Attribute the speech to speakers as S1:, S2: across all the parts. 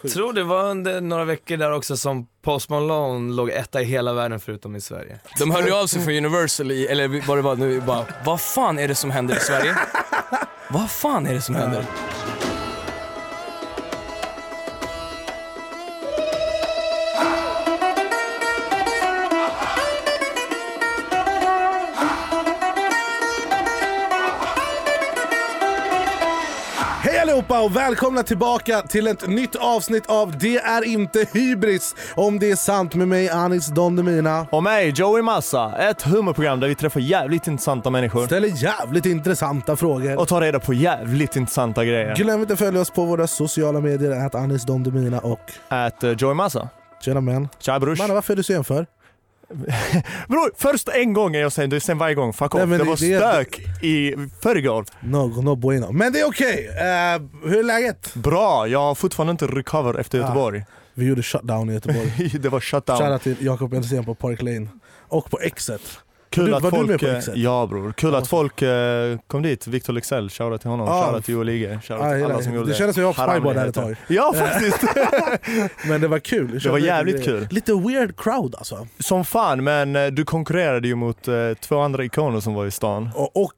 S1: Sjukt.
S2: Tror det var under några veckor där också som Post Malone låg etta i hela världen förutom i Sverige.
S3: De hörde ju av sig från Universal, i, eller vad det var nu, bara Vad fan är det som händer i Sverige? Vad fan är det som händer?
S1: Hej allihopa och välkomna tillbaka till ett nytt avsnitt av Det är inte hybris om det är sant med mig Anis Don Demina.
S4: Och mig, Joey Massa. Ett humorprogram där vi träffar jävligt intressanta människor
S1: Ställer jävligt intressanta frågor.
S4: och tar reda på jävligt intressanta grejer.
S1: Glöm inte att följa oss på våra sociala medier, att Anis Don Demina och
S4: Att eh, Joey Massa.
S1: tjena men.
S4: Tja brors.
S1: Mannen varför är du sen för?
S4: Bror, först en gång är jag sen, du är sen varje gång. Fuck
S1: Nej,
S4: off.
S1: men
S4: Det
S1: det-
S4: var
S1: det-
S4: stök i förrgår.
S1: No, no bueno. Men det är okej. Eh, hur är läget?
S4: Bra, jag har fortfarande inte recover efter Göteborg.
S1: Vi gjorde shutdown i Göteborg.
S4: det var shutdown.
S1: Shoutout till Jakob Eldsten på Park Lane. Och på Exet.
S4: Kul
S1: Du,
S4: att
S1: var du
S4: folk,
S1: med på
S4: eh,
S1: Exet?
S4: Ja bror, kul att folk eh, kom dit. Victor Leksell, shoutout till honom,
S1: Ja.
S4: shoutout till Joel Ige, shoutout
S1: Ja,
S4: till
S1: hela-
S4: alla som gjorde
S1: det
S4: det.
S1: kändes som Ah, jag var på
S4: Haram
S1: Spybar
S4: ni
S1: där ett
S4: heter.
S1: tag.
S4: Ja faktiskt!
S1: Men det var kul. Jag kände
S4: jävligt
S1: lite-
S4: kul.
S1: Lite weird crowd alltså.
S4: som fan, men eh, du konkurrerade ju mot eh, två andra ikoner som var i stan.
S1: Och, och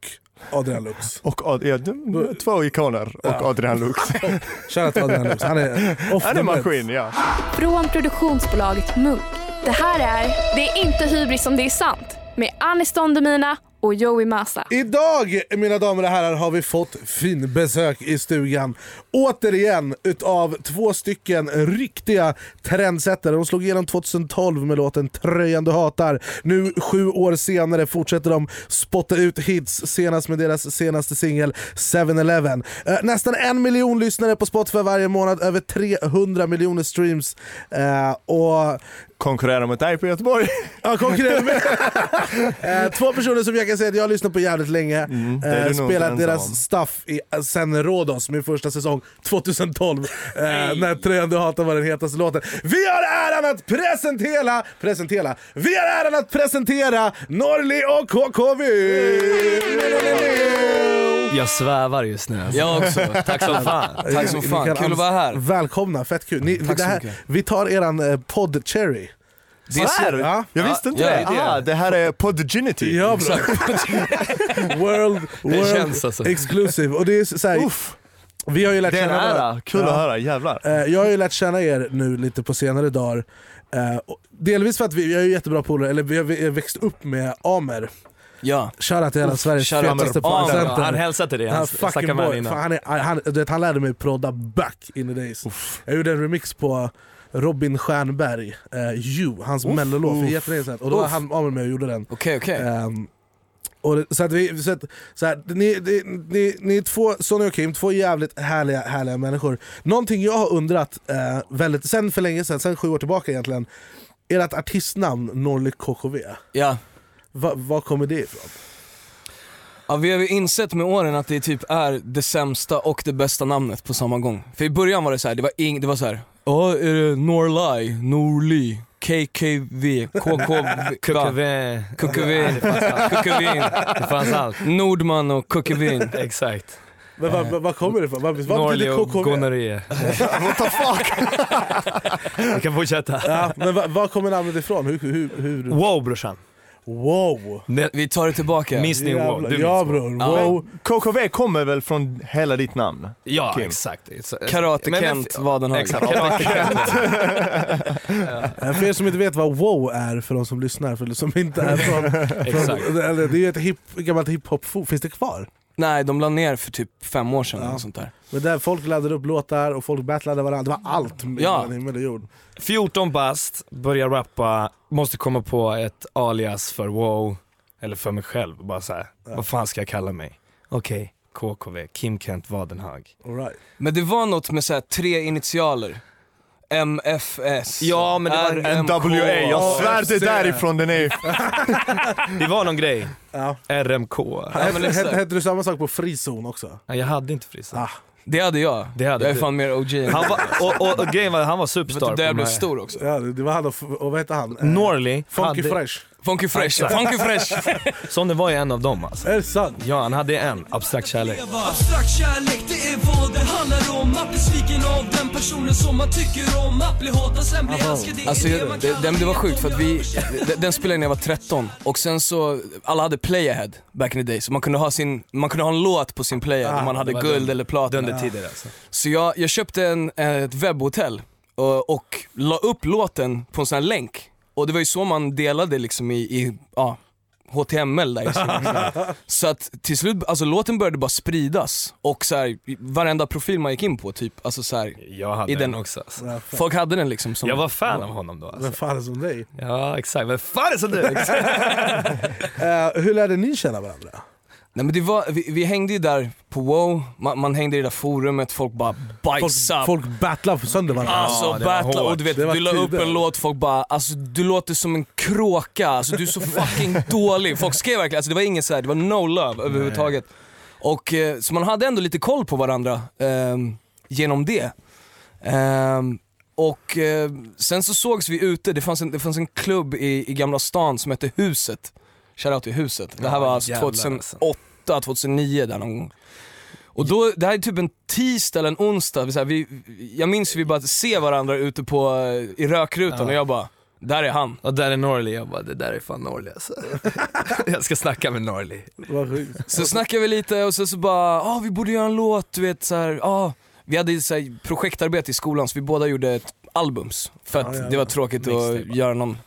S1: Adrian Lux.
S4: Och Ad- ja, de- två ikoner och Adrian Lux.
S1: Shoutout till Adrian Lux. Han är off
S4: Han
S1: the
S4: är
S1: meds.
S4: maskin, ja.
S5: Från produktionsbolaget Munk. Det här är Det är inte hybris om det är sant med Anis Don Demina och Joey Massa.
S1: Idag mina damer och herrar har vi fått fin besök i stugan. Återigen utav två stycken riktiga trendsättare. De slog igenom 2012 med låten Tröjan du hatar. Nu sju år senare fortsätter de spotta ut hits, senast med deras senaste singel 7-Eleven. Eh, Nästan en miljon lyssnare på Spotify varje månad, över 300 miljoner streams. Eh, och
S4: Konkurrerar mot dig på Göteborg.
S1: Ja, konkurrerar med. Eh, Två personer som jag kan säga att jag har lyssnat på jävligt länge.
S3: Mm,
S4: det är
S1: Eh,
S4: du nog inte
S1: spelat
S4: ensam om.
S1: deras stuff i, eh, sen Rhodos, min första säsong 2012. eh, när Tröjan du hatar var den hetaste låten. Vi har äran att presentera, presentera, vi har äran att presentera Norli och KKV!
S2: Jag svävar just nu. alltså.
S3: Jag också. Tack som fan. Tack som
S1: Ni
S3: fan.
S1: kan
S3: Kul att vara här.
S1: Välkomna, fett kul. Ni,
S3: Tack
S1: det
S3: så
S1: här,
S3: mycket.
S1: vi tar eran eh, podd Cherry.
S3: Det är så-
S1: Ja.
S4: Jag visste inte
S3: Ja,
S4: det.
S3: det är det.
S4: Ah, det här är Podginity.
S1: Ja, bra. world world
S2: känns alltså.
S1: exclusive. Och det är så här,
S4: Uff,
S1: vi har ju lärt
S4: det är en
S1: känna varandra-
S4: ära. Kul
S1: Ja.
S4: att höra, jävlar.
S1: Eh, Jag har ju lärt känna er nu lite på senare dagar. Eh, och Delvis för att vi, vi är ju jättebra polare, eller vi har vi har växt upp med Amer.
S3: Ja.
S1: Shoutout till hela Sveriges
S3: shoutout
S1: fetaste
S3: Amer. Amer,
S1: producenter.
S2: Han hälsade till dig,
S1: Han
S2: han
S1: fucking
S2: snackade med honom
S1: boy. Fan,
S2: innan.
S1: han, är, han, du vet, han lärde mig prodda back in the days. Jag gjorde en remix på Robin Stjernberg, eh, You, hans mellolåt för jättelänge sedan. Och då var
S3: Uff.
S1: han Amer med och gjorde den.
S3: Okej, okej.
S1: Ehm, och det, så att vi, så att, så här, ni, ni, ni, ni är två, Sonny och Kim, två jävligt härliga, härliga människor. Någonting jag har undrat eh, väldigt, sen för länge sedan, sen sju år tillbaka egentligen, ert artistnamn Norli KKV,
S3: Ja.
S1: va, var kommer det ifrån?
S3: Ja, vi har ju insett med åren att det typ är det sämsta och det bästa namnet på samma gång. För i början var det så här, det var ing, det var så här. Ja, är det Norli, Norli, KKV, KKV,
S2: KKV.
S3: Kuckevin, Kuckevin,
S2: Det fanns allt.
S3: Nordman och Kuckevin.
S2: Exakt.
S1: Men, va, va, var kommer det ifrån? Vad vad
S2: Norli
S1: betyder
S2: och
S1: KKV?
S2: gonorré. What the fuck? Vi kan fortsätta.
S1: Ja, men va, var kommer namnet ifrån? Hur, hur, hur?
S2: Wow brorsan.
S1: Wow!
S2: Det-
S3: Vi tar det tillbaka.
S2: Minns ni wow?
S1: Jävlar,
S2: Du
S1: ja
S2: minns
S1: bror,
S3: Ja.
S1: wow!
S4: KKV kommer väl från hela ditt namn?
S2: Ja,
S4: Kim.
S2: exakt. It's-
S3: Karate
S2: Men-
S3: Kent var den här.
S2: Exakt, Karate Kent.
S1: Eh, För er som inte vet vad wow är, för de som lyssnar, för de som inte är från...
S2: Exakt.
S1: från eller, det är ju ett hip, gammalt hiphop-forum, finns det kvar?
S3: Nej, de la ner för typ fem år sedan eller något sånt där.
S1: Men där folk laddade upp låtar och folk battlade varandra, det var allt
S3: Mm. Ja.
S1: mellan himmel och jord.
S2: 14 bast, börjar rappa, måste komma på ett alias för wow, eller för mig själv. Bara så här, vad fan ska jag kalla mig? Okej, KKV, Kim Kent Wadenhag.
S1: All right.
S3: Men det var något med så här, tre initialer. MFS.
S2: Ja, men det var
S3: RMK.
S4: NWA, jag svär
S1: AFC.
S4: det därifrån den är...
S2: Det var någon grej,
S1: Ja.
S2: RMK.
S3: Ja, men
S1: Hette,
S3: exakt.
S1: hette du samma sak på frizon också?
S2: Nej, Jag hade inte frissa.
S1: Ah.
S3: Det hade jag.
S2: Det hade
S3: jag är
S2: du.
S3: fan mer OG
S2: Han
S3: än han
S2: var, och, och, och grejen var, han var
S3: Vet
S2: superstar
S3: du,
S2: på
S3: där jag
S2: de
S3: blev
S2: här.
S3: stor också.
S1: Ja, det det var han och, och vad hette han? Eh,
S2: Norli
S1: Funky
S2: hade-
S1: Fresh.
S3: Funky fresh, funky fresh.
S2: Som det var i en av dem alltså.
S1: Är det sant?
S2: Ja, han hade en, Abstrakt kärlek.
S6: Abstrakt kärlek, det är vad det handlar om Att bli sviken av den personen som man tycker om Att bli hatad, sen bli älskad, det är
S3: Alltså
S6: det man
S3: det, det, det var sjukt för att vi, d- den spelade jag när jag var 13 och sen så, alla hade playahead back in the day så man kunde ha sin, man kunde ha en låt på sin playahead om man hade
S2: Ah, var
S3: guld
S2: den-
S3: eller platina.
S2: Dundertider alltså.
S3: Så jag, jag köpte en, eh, ett webbhotell och, och la upp låten på en sån här länk. Och det var ju så man delade liksom i, i ja, HTML där. i sin- så att till slut, alltså låten började bara spridas och så här, i varenda profil man gick in på typ, alltså så här,
S2: Jag hade
S3: I
S2: den
S3: den-
S2: också alltså.
S1: Ja, fan.
S3: folk hade den liksom som
S2: Jag var fan av honom då alltså.
S1: Vem fan är som dig?
S2: Ja exakt, vem fan är det som du? Exakt.
S1: Eh, hur lärde ni känna varandra?
S3: Nej men det var, vi, vi hängde ju där på wow, man, man hängde i det där forumet, folk bara
S1: Folk,
S3: bajsade.
S1: folk battlar sönder varandra.
S3: Alltså
S2: Ja, det var
S3: battla
S2: hårt.
S3: och du vet,
S1: Det var
S3: du la upp
S1: tider.
S3: en låt, folk bara alltså du låter som en kråka, alltså du är så fucking dålig. Folk skrev verkligen, alltså det var ingen såhär, det var no love överhuvudtaget. Och eh, så man hade ändå lite koll på varandra ehm, genom det. Ehm, och eh, sen så sågs vi ute, det fanns en, det fanns en klubb i, i Gamla stan som hette Huset. Shoutout till Huset. Det här
S2: Ja,
S3: var alltså
S2: jävlar,
S3: 2008, 2009 där någon gång. Och då, det här är typ en tisdag eller en onsdag, vi, så här, vi, jag minns hur vi bara ser varandra ute på, eh, i rökrutan
S2: Ja.
S3: och jag bara, där är han.
S2: Och där är Norli, jag bara det där är fan Norli alltså. jag ska snacka med Norli.
S1: Vad sjukt.
S3: Så snackade vi lite och sen så bara, ah vi borde göra en låt, du vet så här, ah. Vi hade ju så här, projektarbete i skolan så vi båda gjorde ett albums. För att
S1: Ja, ja, ja.
S3: det var tråkigt
S2: Mixtape.
S3: att göra någon,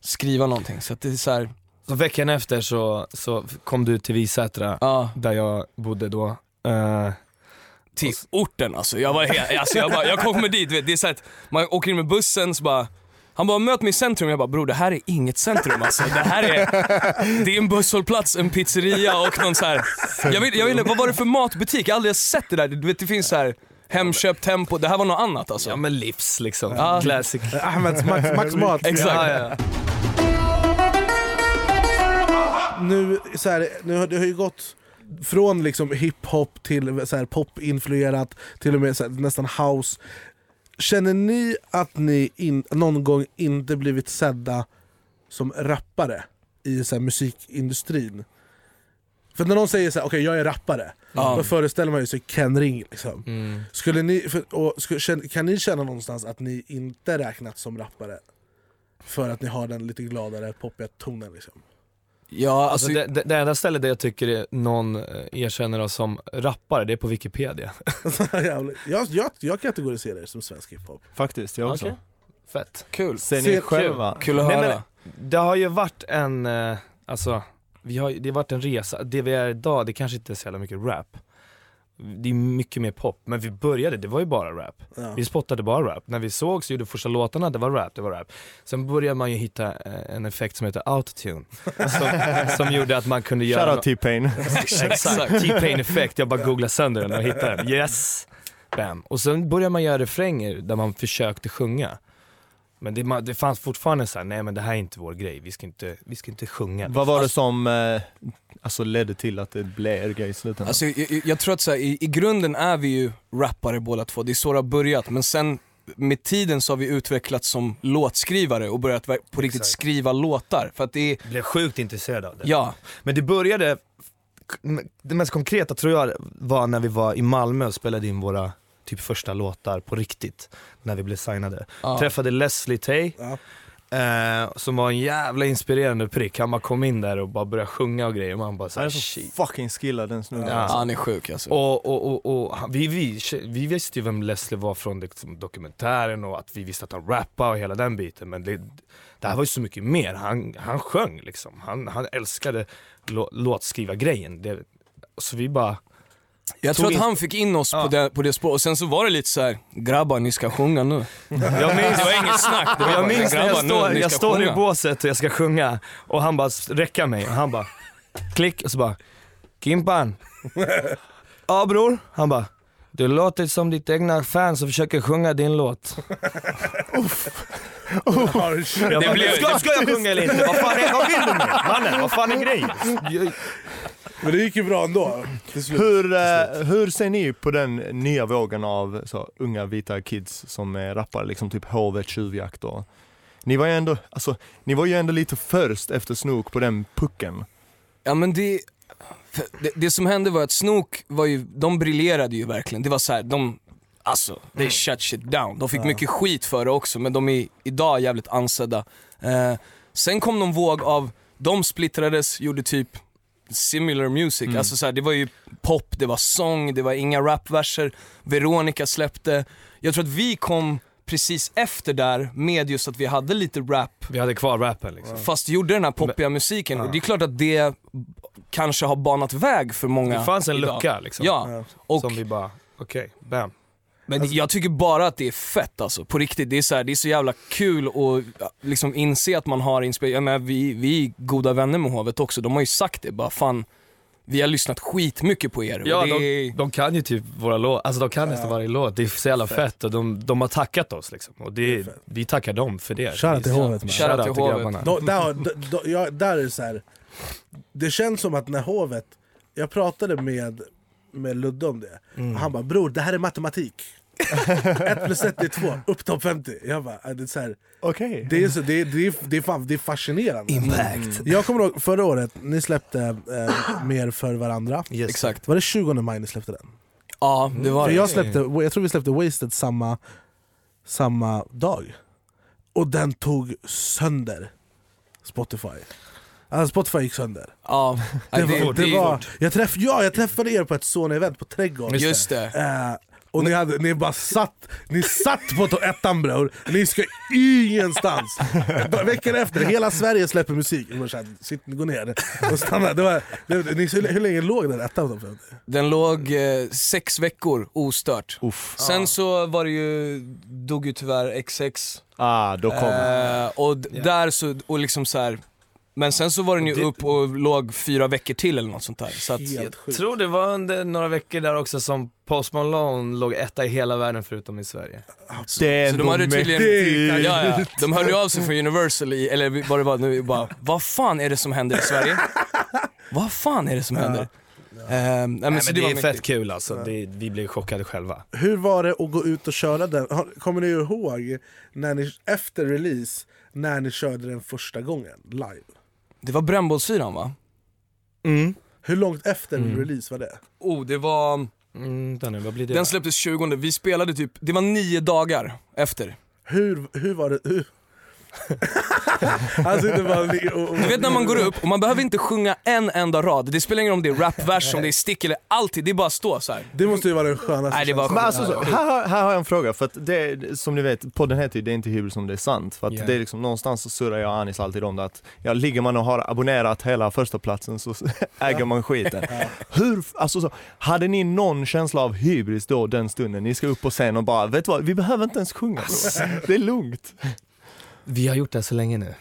S3: skriva någonting. Så att det är så här,
S2: Så veckan efter så, så kom du till Visätra,
S3: ja.
S2: där jag bodde då. Eh,
S3: till orten alltså. Jag, var helt, alltså jag, bara, jag kommer dit, du vet, det är så här att man åker in med bussen så bara han bara möt mig i centrum, jag bara bror det här är inget centrum alltså. Det här är, det är en busshållplats, en pizzeria och någon så här. Jag ville, jag ville, vad var det för matbutik? Jag har aldrig sett det där. Du vet det finns så här Hemköp, Tempo, det här var något annat alltså.
S2: ja
S3: Ja,
S2: men livs liksom,
S3: Ja.
S2: classic.
S1: Ahmeds Eh, Max, Max Mat.
S3: Exakt.
S2: Ja, ja.
S1: Nu, så här, nu har det har ju gått från liksom hiphop till så här, popinfluerat, till och med så här, nästan house. Känner ni att ni in, någon gång inte blivit sedda som rappare i så här, musikindustrin? För när någon säger så här, okej jag är rappare,
S3: Ja.
S1: då föreställer man ju sig Ken Ring. Liksom. Skulle ni, för, och, sku- kän- kan ni känna någonstans att ni inte räknats som rappare? För att ni har den lite gladare, poppiga tonen liksom?
S3: alltså,
S2: Alltså, det, det, det enda stället där jag tycker det- någon eh, erkänner oss som rappare, det är på Wikipedia.
S1: Jävlar. jag, jag, jag kategoriserar er som svensk hiphop.
S4: Faktiskt, jag också.
S2: Okej. Fett.
S3: kul.
S4: Ser
S1: Ser-
S4: ni själva?
S3: Kul att
S2: Nej,
S3: höra.
S2: men, det har ju varit en, eh, alltså, vi har, det har varit en resa. Det vi är idag, det kanske inte är så jävla mycket rap. Det är mycket mer pop, men vi började, det var ju bara rap.
S1: Ja.
S2: Vi spottade bara rap. När vi sågs gjorde första låtarna, det var rap, det var rap. Sen började man ju hitta eh, en effekt som heter autotune. Som, som gjorde att man kunde göra...
S4: Shoutout T-Pain.
S2: Exakt, T-Pain effekt, jag bara googlade sönder den och hittade den. Yes! Bam. Och sen började man göra refränger där man försökte sjunga. Men det, man- det fanns fortfarande så här, nej men det här är inte vår grej, vi ska inte, vi ska inte sjunga.
S4: Vad var det som eh, alltså ledde till att det blev er grej i slutändan?
S3: Alltså, jag, jag- jag tror att så här, i, i grunden är vi ju rappare båda två, det är så det har börjat. Men sen med tiden så har vi utvecklats som låtskrivare och börjat ver- på riktigt
S2: Exakt.
S3: skriva låtar. För att det är,
S2: Jag blev sjukt intresserad av det.
S3: ja,
S2: Men det började, det mest konkreta tror jag var när vi var i Malmö och spelade in våra typ första låtar på riktigt. När vi blev signade.
S3: ja.
S2: Träffade Leslie Tay.
S1: Ja.
S2: Eh, som var en jävla inspirerande prick. Han bara kom in där och bara började sjunga och grejer. Man bara så
S4: han
S2: här,
S4: Alltså, är så
S2: shit.
S4: fucking skillad den snubben.
S2: Ja.
S3: Ja, han är sjuk alltså.
S2: Och, och, och, och han- vi, vi, vi visste ju vem Leslie var från liksom, dokumentären och att vi visste att han rappade och hela den biten. Men det, det här var ju så mycket mer. Han, han sjöng liksom. Han, han älskade lå, låtskrivargrejen. Det, så vi bara,
S3: jag
S2: tog
S3: tror att
S2: in-
S3: han fick in oss
S2: Ja.
S3: på, det, på det spåret, och sen så var det lite så här: grabbar ni ska sjunga nu.
S2: jag minns,
S3: Det var inget snack, det var
S2: jag
S3: bara,
S2: minns när jag
S3: "Grabbar, nu,
S2: står,
S3: ni
S2: jag
S3: ska
S2: står i
S3: sjunga."
S2: båset och jag ska sjunga och han bara räcker mig och han bara klick och så bara Kimpan. Ja bror. Han bara du låter som ditt egna fan som försöker sjunga din låt.
S1: Harsh.
S2: Jag bara,
S3: blev-
S2: ska, ska jag sjunga eller inte? Vad fan är, vad vill du med Mannen, vad fan är grejen?
S1: Men det gick ju bra ändå. Till slut.
S4: Hur, eh, hur ser ni på den nya vågen av så, unga vita kids som är rappare, liksom typ HV, Tjuvjakt och Ni var ju ändå, alltså, ni var ju ändå lite först efter Snook på den pucken.
S3: Ja men det, för det, det som hände var att Snook var ju, de briljerade ju verkligen. Det var så här, de, alltså, they shut shit down. De fick mycket skit för det också men de är idag jävligt ansedda. Eh, sen kom någon våg av, de splittrades, gjorde typ similar music. Alltså så här, det var ju pop, det var sång, det var inga rapverser. Veronica släppte. Jag tror att vi kom precis efter där med just att vi hade lite rap
S2: Vi hade kvar rappen liksom.
S3: fast gjorde den här poppiga musiken. Och det är klart att det kanske har banat väg för många
S2: Det fanns en
S3: idag.
S2: lucka liksom.
S3: Ja, och,
S2: Som vi Alltså- bara, okej, bam.
S3: men det- jag tycker bara att det är fett alltså, på riktigt. Det är så, här, det är så jävla kul att ja, liksom inse att man har inspirerat, vi, vi är goda vänner med hovet också, de har ju sagt det bara fan, vi har lyssnat skitmycket på er. och
S2: Ja,
S3: det
S2: de, de kan ju typ våra låtar, alltså de kan nästan varje låt. Det är så jävla fett, och de, de har tackat oss liksom. Och det, vi tackar dem för det.
S1: Shoutout till hovet, man.
S2: Shoutout till
S3: Shoutout till
S2: grabbarna.
S1: Då, där, har- d- då, ja, där är det så här. Det känns som att när hovet... Jag pratade med, med Ludde om det. Och han bara “bror, det här är matematik”. 1 plus 1 är 2, upp topp 50. Jag bara, äh, det är så här,
S4: Okej.
S1: det är, så, det är, det är, det är, fan, det är fascinerande. Mm.
S3: Impact.
S1: Jag kommer ihåg förra året, ni släppte eh, Mer för varandra.
S3: Exakt.
S1: Var det 20 maj ni släppte den?
S3: Ja, det var
S1: För
S3: det.
S1: jag, släppte, jag tror vi släppte Wasted samma, samma dag. Och den tog sönder Spotify. Alltså Spotify gick sönder.
S3: Ja,
S1: Det
S3: nej,
S1: var, det var, jag, träff, ja, jag träffade er på ett Sony-event på Trädgården.
S3: Just det.
S1: Eh, och ni, hade, ni bara satt, ni satt på to- ettan bror, ni ska ingenstans. Veckan efter, hela Sverige släpper musik. Jag bara så här, Sitt, gå ner och stanna. Det var, det, ni, hur, hur länge låg den ettan? på topp 50?
S3: Den låg eh, sex veckor ostört. Sen så var det ju, dog ju tyvärr XX.
S4: Ah, då kom
S3: Eh, och d- där så, och liksom så här. Men sen så var den ju
S2: Det-
S3: upp och låg fyra veckor till eller något sånt där. Så att,
S1: Helt
S2: Jag
S1: sjukt.
S2: tror det var under några veckor där också som Post Malone låg etta i hela världen förutom i Sverige.
S4: det
S3: så de hade tydligen, ja,
S4: mäktigt.
S3: ja, de hörde ju av sig från Universal, i, eller vad det var nu, och bara vad fan är det som händer i Sverige? vad fan är det som händer? Eh, nej, men
S2: Nej, men
S3: så det
S2: det,
S3: var
S2: är
S3: mäktigt.
S2: fett kul alltså, det, vi blev chockade själva.
S1: Hur var det att gå ut och köra den? Har- Kommer ni ihåg när ni, efter release när ni körde den första gången live?
S3: Det var brännbollsfyran va?
S1: Hur långt efter
S4: Mm.
S1: release var det?
S3: Oh, det var...
S2: Mm, den, vad blir det?
S3: Den släpptes 20, vi spelade typ, det var nio dagar efter.
S1: Hur, hur var det? Hur? alltså, det var, och, och,
S3: Du vet när man går upp och man behöver inte sjunga en enda rad, det spelar ingen roll om det är rapvers, om det är stick eller alltid, det är bara att stå så här.
S1: det måste ju vara den skönaste
S3: Nej det var
S4: Men alltså, så, här, har- här har jag en fråga, för att det, som ni vet, podden heter ju Det är inte hybris om det är sant. För att
S2: Yeah.
S4: det är liksom, någonstans så surrar jag och Anis alltid om det att, ja, ligger man och har abonnerat hela första platsen så äger man skiten. Hur, alltså så, hade ni någon känsla av hybris då den stunden? Ni ska upp på scen och bara, vet du vad, vi behöver inte ens sjunga.
S1: Alltså.
S4: Det är lugnt.
S2: Vi har gjort det här så länge nu.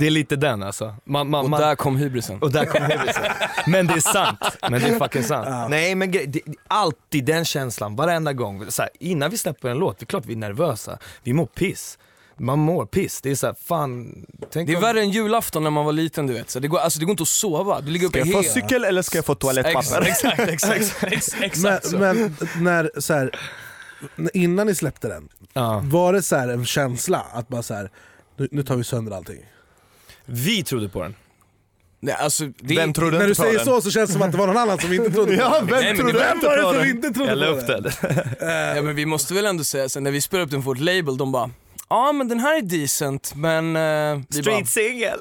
S2: det är lite den alltså. Man, man,
S3: Och
S2: man,
S3: där kom hybrisen.
S2: Och där kom hybrisen. Men det är sant. Men det är fucking sant. Nej men grej- det, det- alltid den känslan, varenda gång. Så här, innan vi släpper en låt, det är klart vi är nervösa. Vi mår piss. Man mår piss. Det är såhär, fan. Tänk
S3: Det är
S2: om-
S3: värre än julafton när man var liten du vet, så det, går, alltså, det går inte att sova, du ligger uppe
S4: Ska jag få
S3: helt...
S4: cykel eller ska jag få toalettpapper?
S3: Exakt, exakt, exakt.
S1: Men,
S3: exakt så.
S1: men när, så här, innan ni släppte den,
S2: Ja.
S1: var det så här en känsla att bara så här, nu, nu tar vi sönder allting?
S2: Vi trodde på den.
S3: Nej, alltså, det,
S4: Vem trodde
S1: När du
S4: inte på
S1: säger
S4: den?
S1: så så känns det som att det var någon annan som inte trodde på
S4: Ja,
S1: det.
S3: Nej, men
S4: vem trodde
S3: det
S1: Vem var det som
S4: den?
S1: inte
S2: Jag la
S1: trodde på
S2: upp
S1: det?
S2: den.
S3: ja, men vi måste väl ändå säga, sen när vi spelade upp den för vårt label, de bara Ja men den här är decent men... eh, vi bara,
S2: Street single.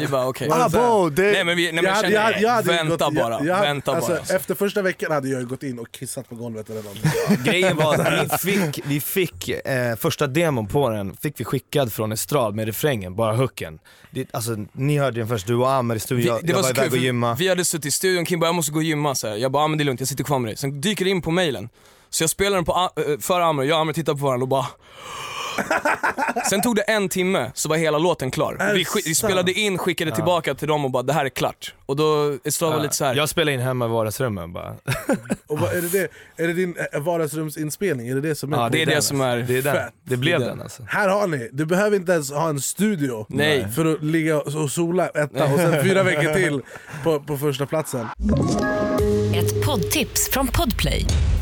S3: vi bara okej.
S4: Ah, bo, det...
S3: Nej men vi, nej, men jag
S1: hade-
S3: känner det.
S1: hade ju
S3: vänta
S1: gått-
S3: bara,
S1: jag- jag-
S3: vänta
S1: alltså,
S3: bara.
S1: Efter första veckan hade jag ju gått in och kissat på golvet eller någonting.
S2: Grejen var att vi fick, vi fick eh, första demon på den fick vi skickad från estrad med refrängen, bara hooken. Det, alltså, ni hörde den först, du och Amer i studion, jag, jag var
S3: så
S2: iväg
S3: kul,
S2: och
S3: för
S2: gymma.
S3: Vi hade suttit i studion, Kim bara jag måste gå och gymma så här. Jag bara ah, men det är lugnt, jag sitter kvar med dig. Sen dyker det in på mailen. Så jag spelar den på, A- eh, för Amr, jag och Amr tittar på varandra och bara Sen tog det en timme så var hela låten klar. Vi, sk- vi spelade in, skickade tillbaka till dem och bara det här är klart. Och då, Estrada var lite så här.
S2: Jag spelade in hemma i vardagsrummen bara.
S1: Och vad, är, det det, är det din eh, vardagsrumsinspelning? Är det det som är
S2: Ja,
S1: på
S3: det är
S1: den?
S3: det som är
S2: Det, är den.
S1: Fett.
S2: det blev
S3: Det är
S2: den
S3: den.
S2: alltså.
S1: Här har ni, du behöver inte ens ha en studio
S3: Nej.
S1: för att ligga och sola etta och sen fyra veckor till på, på första platsen.
S7: Ett poddtips från Podplay.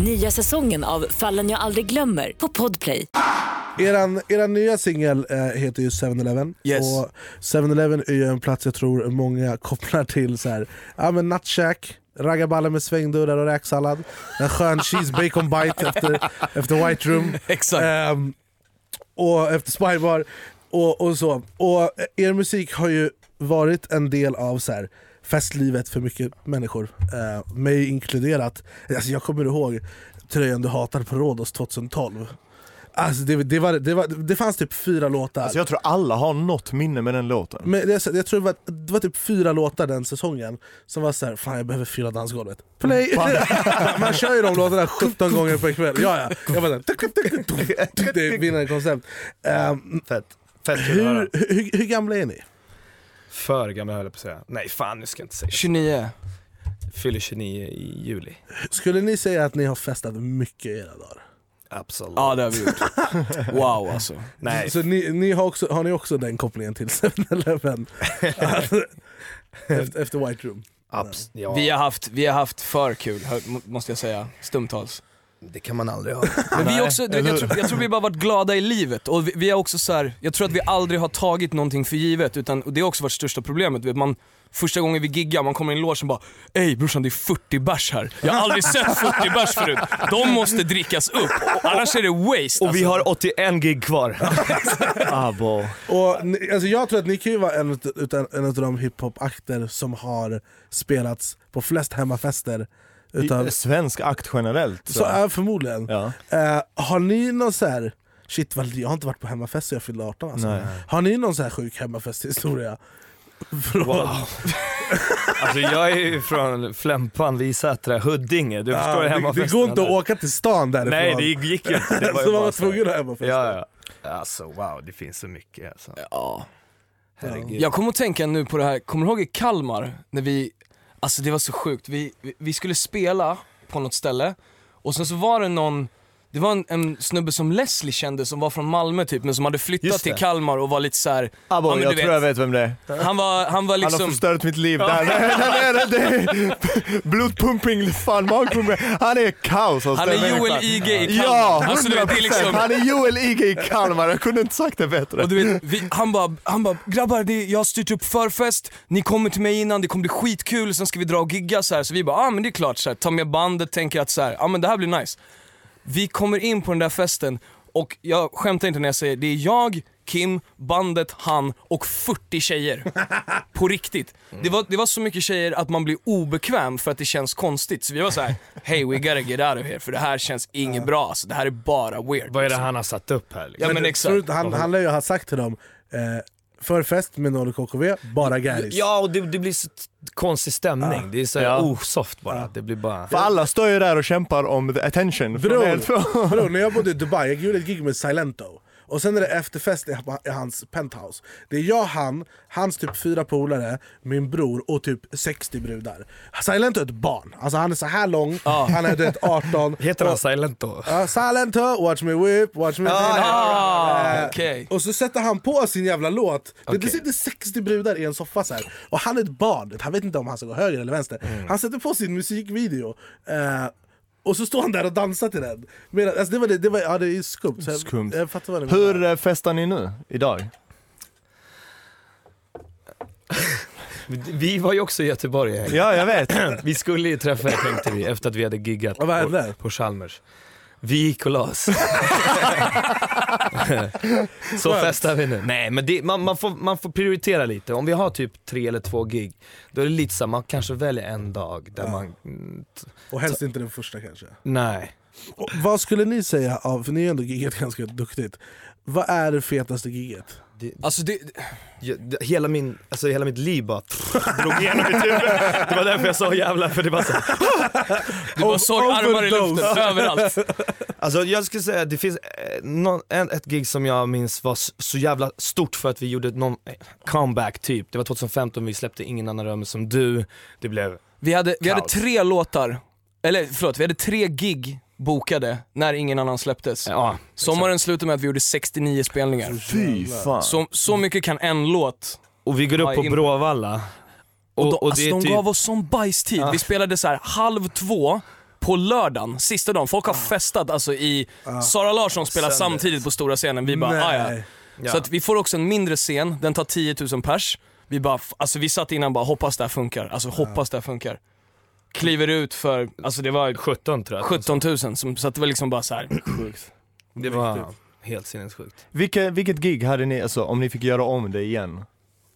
S7: Nya säsongen av Fallen jag aldrig glömmer på Podplay.
S1: Eran, eran nya singel eh, heter ju 7-Eleven.
S3: Yes.
S1: Och 7-Eleven är ju en plats jag tror många kopplar till så här, ja men nattkäk, raggarballe med svängdörrar och räksallad, en skön cheese bacon bite efter, efter White Room.
S3: Exakt.
S1: Ehm, och efter Spybar och, och så. Och er musik har ju varit en del av så här, festlivet för mycket människor, eh, mig inkluderat. Alltså, jag kommer ihåg tröjan du hatade på Rhodos 2012. Alltså, det, det, var, det, var, det fanns typ fyra låtar.
S4: Alltså jag tror alla har något minne med den låten.
S1: Men det, jag tror det var, det var typ fyra låtar den säsongen som var så här, fan jag behöver fylla dansgolvet. Play! Man kör ju de låtarna 17 gånger på en kväll. Ja, ja. Jag bara, så här, tuk, tuk, tuk, tuk, tuk. det är vinnande koncept. Ehm,
S4: Fett. Fett kul att höra.
S1: hur, hur, hur gamla är ni?
S2: För gammal höll jag på att säga. Nej fan nu ska jag inte säga.
S3: 29.
S2: Fyller 29 i juli.
S1: Skulle ni säga att ni har festat mycket i era dagar?
S2: Absolut.
S3: Ja det har vi gjort. Wow alltså.
S2: Nej,
S1: Så ni, ni har, också, har ni också den kopplingen till 7-Eleven? efter, efter White Room?
S2: abs- ja,
S3: Vi har haft, vi har haft för kul, hö- må- måste jag säga, stumtals.
S2: det kan man aldrig ha.
S3: Men vi också, du, vet, jag, tror, jag tror vi bara varit glada i livet och vi, vi har också så här, jag tror att vi aldrig har tagit någonting för givet utan och det har också varit största problemet. Du Vet, man, första gången vi giggar, man kommer in i logen och bara Ey brorsan det är 40 bärs här. Jag har aldrig sett 40 bärs förut. De måste drickas upp, annars är det waste. alltså.
S4: Och vi har 81 gig kvar. Abo.
S1: Och ni, alltså jag tror att ni kan ju vara en, ut- utan- en av de hiphop-akter som har spelats på flest hemmafester. Utav,
S4: I- Svensk akt generellt.
S1: så är förmodligen.
S4: Ja.
S1: Eh, har ni någon så här... Shit, vad- jag har inte varit på hemmafest sen jag fyllde 18 alltså.
S4: Nej.
S1: Har ni någon så här sjuk hemmafesthistoria? Från,
S2: Wow. Alltså jag är ju från Flämpan, Visätra, Huddinge. Du
S1: Ja,
S2: förstår
S1: det-
S2: hemmafesten
S1: det går inte att
S2: där.
S1: åka till stan därifrån.
S2: Nej det gick ju inte. Det var ju
S1: så man
S2: bara
S1: var
S2: så här.
S1: tvungen att ha hemmafest.
S2: Ja, ja. Alltså wow, det finns så mycket alltså.
S3: Ja.
S2: Herregud.
S3: Jag kommer att tänka nu på det här, kommer du ihåg i Kalmar när vi, alltså det var så sjukt, vi, vi- vi skulle spela på något ställe och sen så var det någon, det var en, en snubbe som Leslie kände som var från Malmö typ men som hade flyttat
S4: Just det.
S3: till Kalmar och var lite så här.
S4: Abo,
S3: ja, men
S4: jag
S3: du
S4: tror jag vet vem det
S3: han
S4: är.
S3: var, han var
S4: Han har
S3: liksom,
S4: förstört mitt liv där. där nere, det är blodpumping, fan magpumping. Han är kaos hos
S3: han är
S4: den
S3: Joel
S4: människan.
S3: IG i Kalmar.
S4: Ja, 100%.
S3: Alltså, du vet, det är liksom-
S4: Han är Joel IG i Kalmar, jag kunde inte sagt det bättre.
S3: Och du vet, vi, han bara, han bara, grabbar det, jag har styrt upp förfest, ni kommer till mig innan, det kommer bli skitkul, sen ska vi dra och gigga så här. Så vi bara, ah men det är klart så här, ta med bandet, tänker att så här, ah men det här blir nice. Vi kommer in på den där festen och jag skämtar inte när jag säger, det är jag, Kim, bandet, han och 40 tjejer. På riktigt. Det, var, det var så mycket tjejer att man blir obekväm för att det känns konstigt. Så vi var så här: hey we gotta get out of here för det här känns inget bra alltså, det här är bara weird.
S2: Vad är det han har satt upp här? Liksom?
S3: Ja men
S1: Tror du
S3: exakt.
S1: inte han, han lär ju ha sagt till dem, eh, förfest med noll KKV, bara gäris.
S2: Ja, och det, det blir så t- konstig stämning. Det är så här
S4: Ja.
S2: osoft bara. Det blir bara...
S4: För alla står ju där och kämpar om the attention. från
S1: Bror,
S4: er två.
S1: bror, när jag bodde i Dubai, jag gjorde ett gig med Silento. Och sen är det efterfest i i hans penthouse. Det är jag, han, hans typ fyra polare, min bror och typ 60 brudar. Silento är ett barn. Alltså han är så här lång, han är typ 18.
S2: Heter han
S1: Och-
S2: Silent då?
S1: Ja, Silento, watch me whip, watch me...
S3: Ah,
S1: Eh,
S3: okej.
S1: Och så sätter han på sin jävla låt. Det- Det sitter 60 brudar i en soffa så här. Och han är ett barn, han vet inte om han ska gå höger eller vänster. Han sätter på sin musikvideo. Eh, och så står han där och dansar till den. Men, alltså, det, var det, det, var, ja, det är skumt. Så jag,
S4: Skumt.
S1: Jag fattar vad det
S4: Hur eh, festar ni nu, idag?
S2: Vi var ju också i Göteborg i helgen.
S4: Ja, jag vet.
S2: Vi skulle ju träffa er tänkte vi, efter att vi hade giggat
S1: Vad hände?
S2: på, på Chalmers. Vi gick och la oss. Så festar vi nu. Nej men det, man, man, får, man får prioritera lite. Om vi har typ tre eller två gig, då är det lite så här, man kanske väljer en dag där man... mm, t-
S1: Och helst inte den första kanske.
S2: Nej.
S1: Och, vad skulle ni säga, av, för ni har ändå giggat ganska duktigt. Vad är det fetaste giget?
S2: det,
S3: Alltså det,
S2: jag, det, hela, min, alltså hela mitt liv bara drog igenom mitt huvud. Det var därför jag sa jävlar, för det var så här,
S3: du bara såg armar i luften överallt.
S2: Alltså jag skulle säga att det finns eh, någon, en, ett gig som jag minns var s- så jävla stort för att vi gjorde någon eh, comeback typ. Det var 2015, vi släppte Ingen annan rör mig som du. Det blev, eh,
S3: Vi hade, vi hade
S2: Kaos.
S3: tre låtar, eller förlåt, vi hade tre gig bokade när ingen annan släpptes.
S2: ja.
S3: Sommaren slutade med att vi gjorde 69 spelningar.
S4: Fy fan.
S3: Så, så mycket kan en låt.
S2: Och vi går upp
S3: Ja,
S2: på
S3: in-
S2: Bråvalla.
S3: Och, de,
S2: det är
S3: alltså, de
S2: typ-
S3: gav oss sån bajstid. Vi spelade så här halv två på lördagen, sista dagen. Folk har festat alltså i... Sara Larsson spelar
S2: Söndags.
S3: samtidigt på stora scenen. Vi bara, "Ah, ja.
S1: Nej.
S2: ja.
S3: Så att vi får också en mindre scen, den tar 10 000 pers. Vi bara, f- alltså vi satt innan bara hoppas det här funkar, alltså hoppas det här funkar. Kliver ut för, alltså det var
S2: 17 tror jag.
S3: 17 000, som, så att det var liksom bara så här.
S2: Det var helt sinnessjukt.
S4: Vilke, vilket gig hade ni, alltså om ni fick göra om det igen,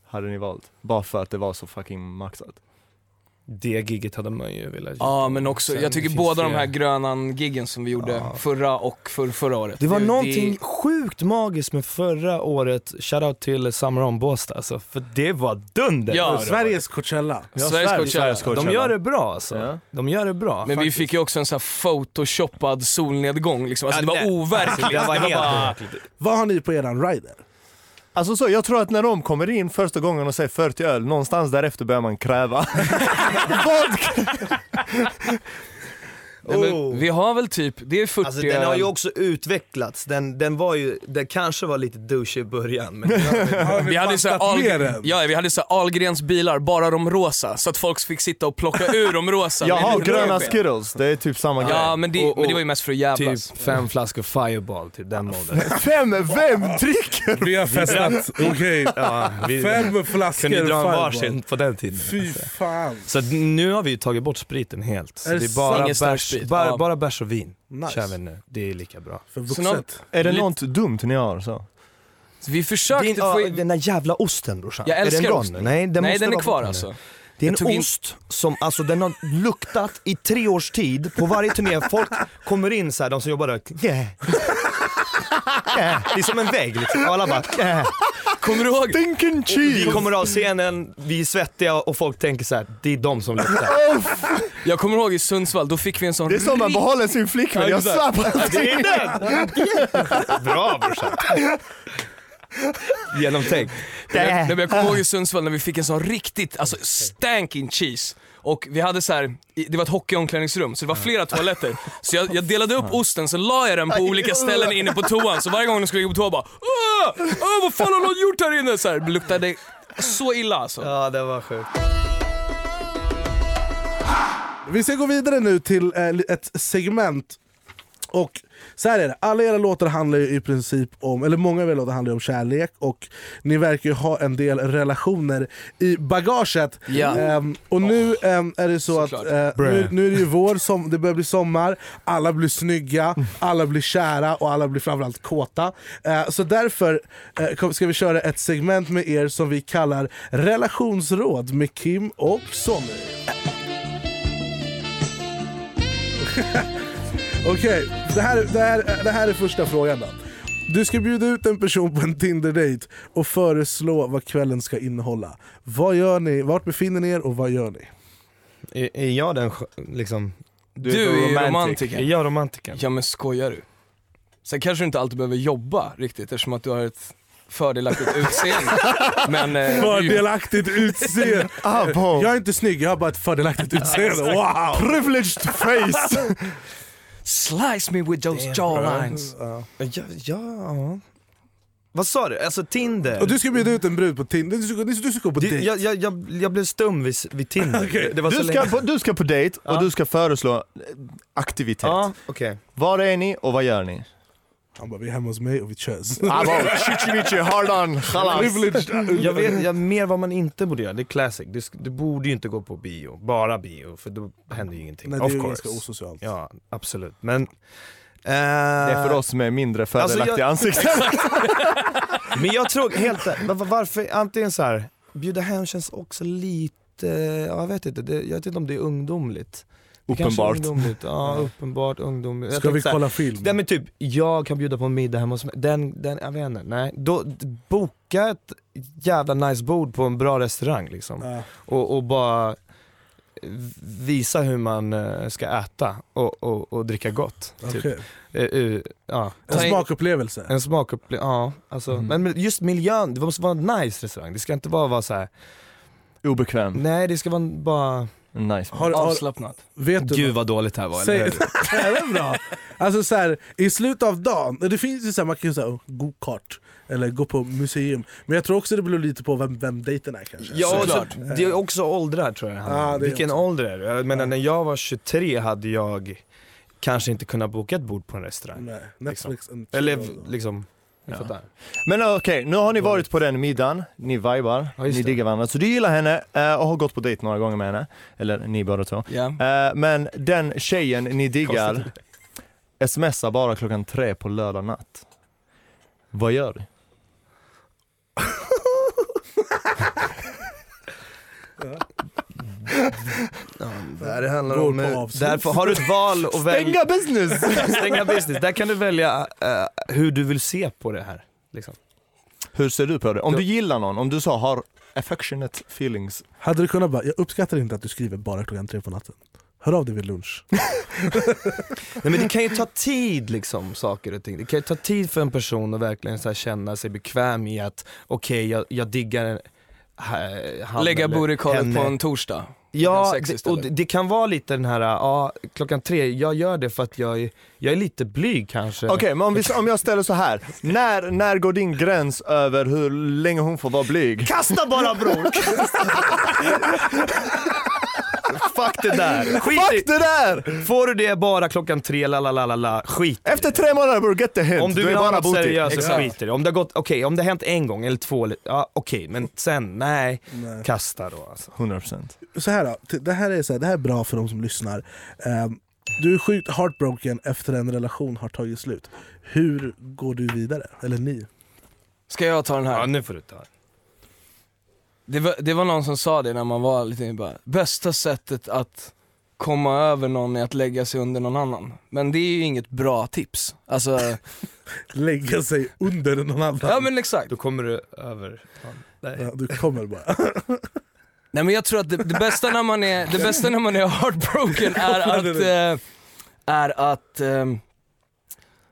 S4: hade ni valt? Bara för att det var så fucking maxat.
S2: Det giget hade man ju velat
S3: Ja men också,
S2: Sen
S3: jag tycker
S2: finns
S3: båda
S2: det-
S3: de här Grönan-giggen som vi gjorde
S2: Ja.
S3: förra och för, förra året.
S2: Det var någonting sjukt magiskt med förra året, shoutout till Summer On Båstad alltså, för det var dunder!
S3: Ja,
S2: förra
S3: det
S1: Sveriges Coachella.
S3: Ja, Sveriges
S4: Sverige-
S3: Coachella.
S4: Sveriges
S2: året.
S4: Coachella.
S2: De gör det bra alltså.
S4: Ja.
S2: De gör det bra.
S3: Men vi fick ju också en sån här photoshoppad solnedgång liksom,
S2: Ja,
S3: alltså det var
S2: nej.
S3: overkligt.
S2: Det var helt
S3: bara-
S2: overkligt.
S1: Vad har ni på eran rider?
S4: Alltså så, jag tror att när de kommer in första gången och säger 40 öl, någonstans därefter börjar man kräva.
S2: Alltså,
S4: Vodka!
S3: Nej, men, vi har väl typ, det är 40
S2: Oh. Alltså den har ju också utvecklats, den, den var ju, den kanske var lite douchey i början men
S3: Vi hade ju såhär
S1: bantat ner
S3: Ahl...
S1: den?
S3: ja, vi hade så här Ahlgrens bilar, bara de rosa, så att folk fick sitta och plocka ur de rosa.
S4: Jag har
S3: Men det-
S4: gröna skittles, det är typ samma
S3: Ja men det,
S2: Och- och-
S3: men det var ju mest för att jävlas.
S2: typ fem flaskor fireball, typ den modellen.
S4: grej. Fem, vem dricker?
S1: Vi har festat, okej.
S2: Ja, vi
S1: Fem flaskor
S2: kunde dra en
S1: Fireball.
S2: varsin på den tiden.
S1: Fy fan.
S2: Så att nu har vi ju tagit bort spriten helt. Så
S1: alltså. Är det
S2: det är bara
S3: sant? Ingen
S2: bärs,
S3: starksprit,
S2: bara,
S3: ja.
S2: bara bärs och vin
S1: Nice.
S2: kör vi nu. Det är lika bra.
S1: För
S3: Så
S1: vuxet.
S3: någon-
S4: Är det
S3: Lite-
S4: något dumt ni har så?
S3: Så vi försökte få in...
S2: där jävla osten brorsan.
S3: Jag älskar
S2: är den
S3: osten.
S2: Nej den,
S3: Nej
S2: måste
S3: den är
S2: vara
S3: kvar
S2: borta nu.
S3: alltså.
S2: Det är
S3: Jag tog
S2: en
S3: in-
S2: ost som alltså, den har luktat i tre års tid på varje turné. Folk kommer in så här, de som jobbar där. Yeah. Yeah. Det är som en vägg liksom. Alla bara yeah.
S3: Kommer du ihåg?
S4: Stinken
S2: Vi kommer av scenen, vi är svettiga och folk tänker så här, det är de som luktar.
S3: Jag kommer ihåg i Sundsvall, då fick vi en sån
S4: Det är som man
S3: rik-
S4: behåller sin flickvän, jag slapp
S2: Det är den! Bra brorsan. Genomtänkt.
S3: Nej, men jag kommer ihåg i Sundsvall när vi fick en sån riktigt, alltså stanking cheese. Och vi hade så här, i- det var ett hockeyomklädningsrum så det var flera toaletter. Så jag, jag delade upp osten, så la jag den på olika ställen inne på toan. Så varje gång de skulle gå på toa bara Åh, åh vad fan har någon gjort här inne? Så här, det luktade så illa alltså.
S2: Ja det var sjukt.
S1: Vi ska gå vidare nu till eh, ett segment. Och så här är det, alla era låtar handlar ju i princip om, eller många av era låtar handlar ju om kärlek och ni verkar ju ha en del relationer i bagaget.
S3: Ja.
S1: Ehm, och nu ehm, är det så
S3: Såklart.
S1: att eh, nu, nu är det ju vår, som, det börjar bli sommar, alla blir snygga, alla blir kära och alla blir framförallt kåta. Eh, så därför eh, kom- ska vi köra ett segment med er som vi kallar relationsråd med Kim och Sonny. Okej, det, här, det, här, det här är första frågan då. Du ska bjuda ut en person på en Tinder-date och föreslå vad kvällen ska innehålla. Vad gör ni? Vart befinner ni er och vad gör ni?
S2: Är, är jag den sk- liksom...
S3: Du är ju romantiker.
S2: Är jag romantiken?
S3: Ja men skojar du? Sen kanske du inte alltid behöver jobba riktigt eftersom att du har ett fördelaktigt utseende. Men, eh, det är ju-
S1: Fördelaktigt utseende!
S2: Ah,
S4: Abo.
S1: Jag är inte snygg, jag har bara ett fördelaktigt utseende. Wow!
S4: Privileged face!
S3: Slice me with those jawlines.
S2: Ja, ja. Vad sa du? Alltså Tinder?
S1: Och du ska bjuda ut en brud på Tinder, du ska, du ska gå på
S2: Du,
S1: dejt.
S2: jag, jag, jag, jag blev stum vid, vid Tinder.
S1: Okej,
S2: Det var så
S4: Du ska,
S2: länge.
S4: på, du ska på dejt och
S2: Ja.
S4: du ska föreslå eh, aktivitet.
S2: Ja, okej.
S4: Var är ni och vad gör ni?
S1: Han bara, vi är hemma hos mig och vi körs.
S2: Ah,
S4: Abo, chichimichi, hard on, chalas.
S1: Privileged.
S2: Jag vet jag, mer vad man inte borde göra, det är classic. Du, sk- du borde ju inte gå på bio, bara bio, för då händer ju ingenting.
S1: Nej, det är
S2: of
S1: ju
S2: course.
S1: ganska osocialt.
S2: Ja, absolut. Men... eh, Det
S4: Det är för oss med mindre fördelaktiga
S2: Alltså, jag-
S4: ansikten.
S2: Men jag tror helt va- va- varför antingen så här bjuda hem känns också lite, ja, jag vet inte, det, jag vet inte om det är ungdomligt. Kanske
S4: uppenbart.
S2: ungdomligt, ja uppenbart ungdomligt. Jag
S1: Ska vi
S2: tänkte så här,
S1: kolla film?
S2: Nej men typ, jag kan bjuda på en middag hemma hos mig. Den, den, jag vet inte, nej. Då, d- boka ett jävla nice bord på en bra restaurang liksom.
S1: Ja.
S2: Och, och bara visa hur man eh, ska äta och, och, och dricka gott. Typ.
S1: Okej.
S2: Eh, eh, ja.
S1: En
S2: Ta in-
S1: smakupplevelse.
S2: En smakupplevelse, ja. Alltså,
S4: Mm.
S2: men- Men just miljön, det måste vara en nice restaurang. Det ska inte bara vara så här.
S1: Mm.
S4: Obekväm.
S2: nej det ska vara en- bara...
S4: Nice.
S1: Har, har,
S3: Avslappnat.
S1: vet du
S2: Gud vad dåligt det här var,
S1: Säg-
S2: eller hur?
S1: är det bra? Alltså så här, i slutet av dagen, det finns ju så här, man kan ju säga go-kart eller gå på museum. Men jag tror också det beror lite på vem, vem dejten är kanske. Eh,
S2: Ja, och så,
S3: Såklart.
S2: det är också åldrar tror jag.
S1: Ja, det är
S2: Vilken
S1: också.
S2: ålder är du? Jag menar när jag var 23 hade jag kanske inte kunnat boka ett bord på en restaurang.
S1: Nej, Netflix and chill.
S2: Eller liksom, ni
S4: Ja.
S2: fattar.
S4: Men okej, nu har ni varit på den middagen, ni vibar,
S2: Ja, just
S4: ni
S2: det.
S4: diggar varandra. Så du gillar henne eh, och har gått på dejt några gånger med henne. Eller ni båda två.
S3: Ja.
S4: Eh, Men den tjejen ni diggar smsar bara klockan tre på lördag natt. Vad gör du?
S2: Det här handlar
S1: Går
S2: om,
S1: på
S2: eh,
S1: avslut.
S2: därför har du ett val och välj,
S4: business!
S2: stänga business. Där kan du välja eh, hur du vill se på det här. Liksom.
S4: Hur ser du på det? Om du gillar någon, om du sa har affectionate feelings.
S1: Hade du kunnat bara, jag uppskattar inte att du skriver bara klockan tre på natten. Hör av dig vid lunch.
S2: Nej, men det kan ju ta tid liksom, saker och ting. Det kan ju ta tid för en person att verkligen så här, känna sig bekväm i att okej, jag, jag diggar en, ha- han
S3: Lägga
S2: eller
S3: burikalet
S2: henne.
S3: på en torsdag. klockan
S2: Ja,
S3: sex
S2: det, och
S3: istället.
S2: det, det kan vara lite den här, ja, klockan tre, jag gör det för att jag är, jag är lite blyg kanske.
S4: Okej, men om, vi, om jag ställer så här. När, när går din gräns över hur länge hon får vara blyg?
S2: Kasta bara bror!
S4: Fuck det där!
S2: Skit i-
S4: Fuck det där!
S2: Får du det bara klockan tre, la la la la la, skit i det.
S4: Efter tre månader bro, get the hint.
S2: Om du
S4: är
S2: vill ha något
S4: booty.
S2: seriöst så
S3: Exakt.
S2: skit i det. Om det har gått, okej, om det har hänt en gång eller två, eller- ja okej, men sen, nej,
S1: Nej.
S2: kasta då alltså.
S4: 100%.
S1: Så här då, t- det här är, så här, det här är bra för de som lyssnar. Ehm, du är sjukt heartbroken efter en relation har tagit slut. Hur går du vidare? Eller ni?
S3: Ska jag ta den här?
S2: Ja nu får du ta.
S3: Det var, det var någon som sa det när man var lite bara, bästa sättet att komma över någon är att lägga sig under någon annan. Men det är ju inget bra tips. Alltså,
S1: Lägga sig under någon annan?
S3: ja men exakt.
S2: Då kommer du över. fan. Nej.
S1: Ja, du kommer bara.
S3: Nej men jag tror att det, det bästa när man är, det bästa när man är heartbroken är att, eh, är att, eh, nej,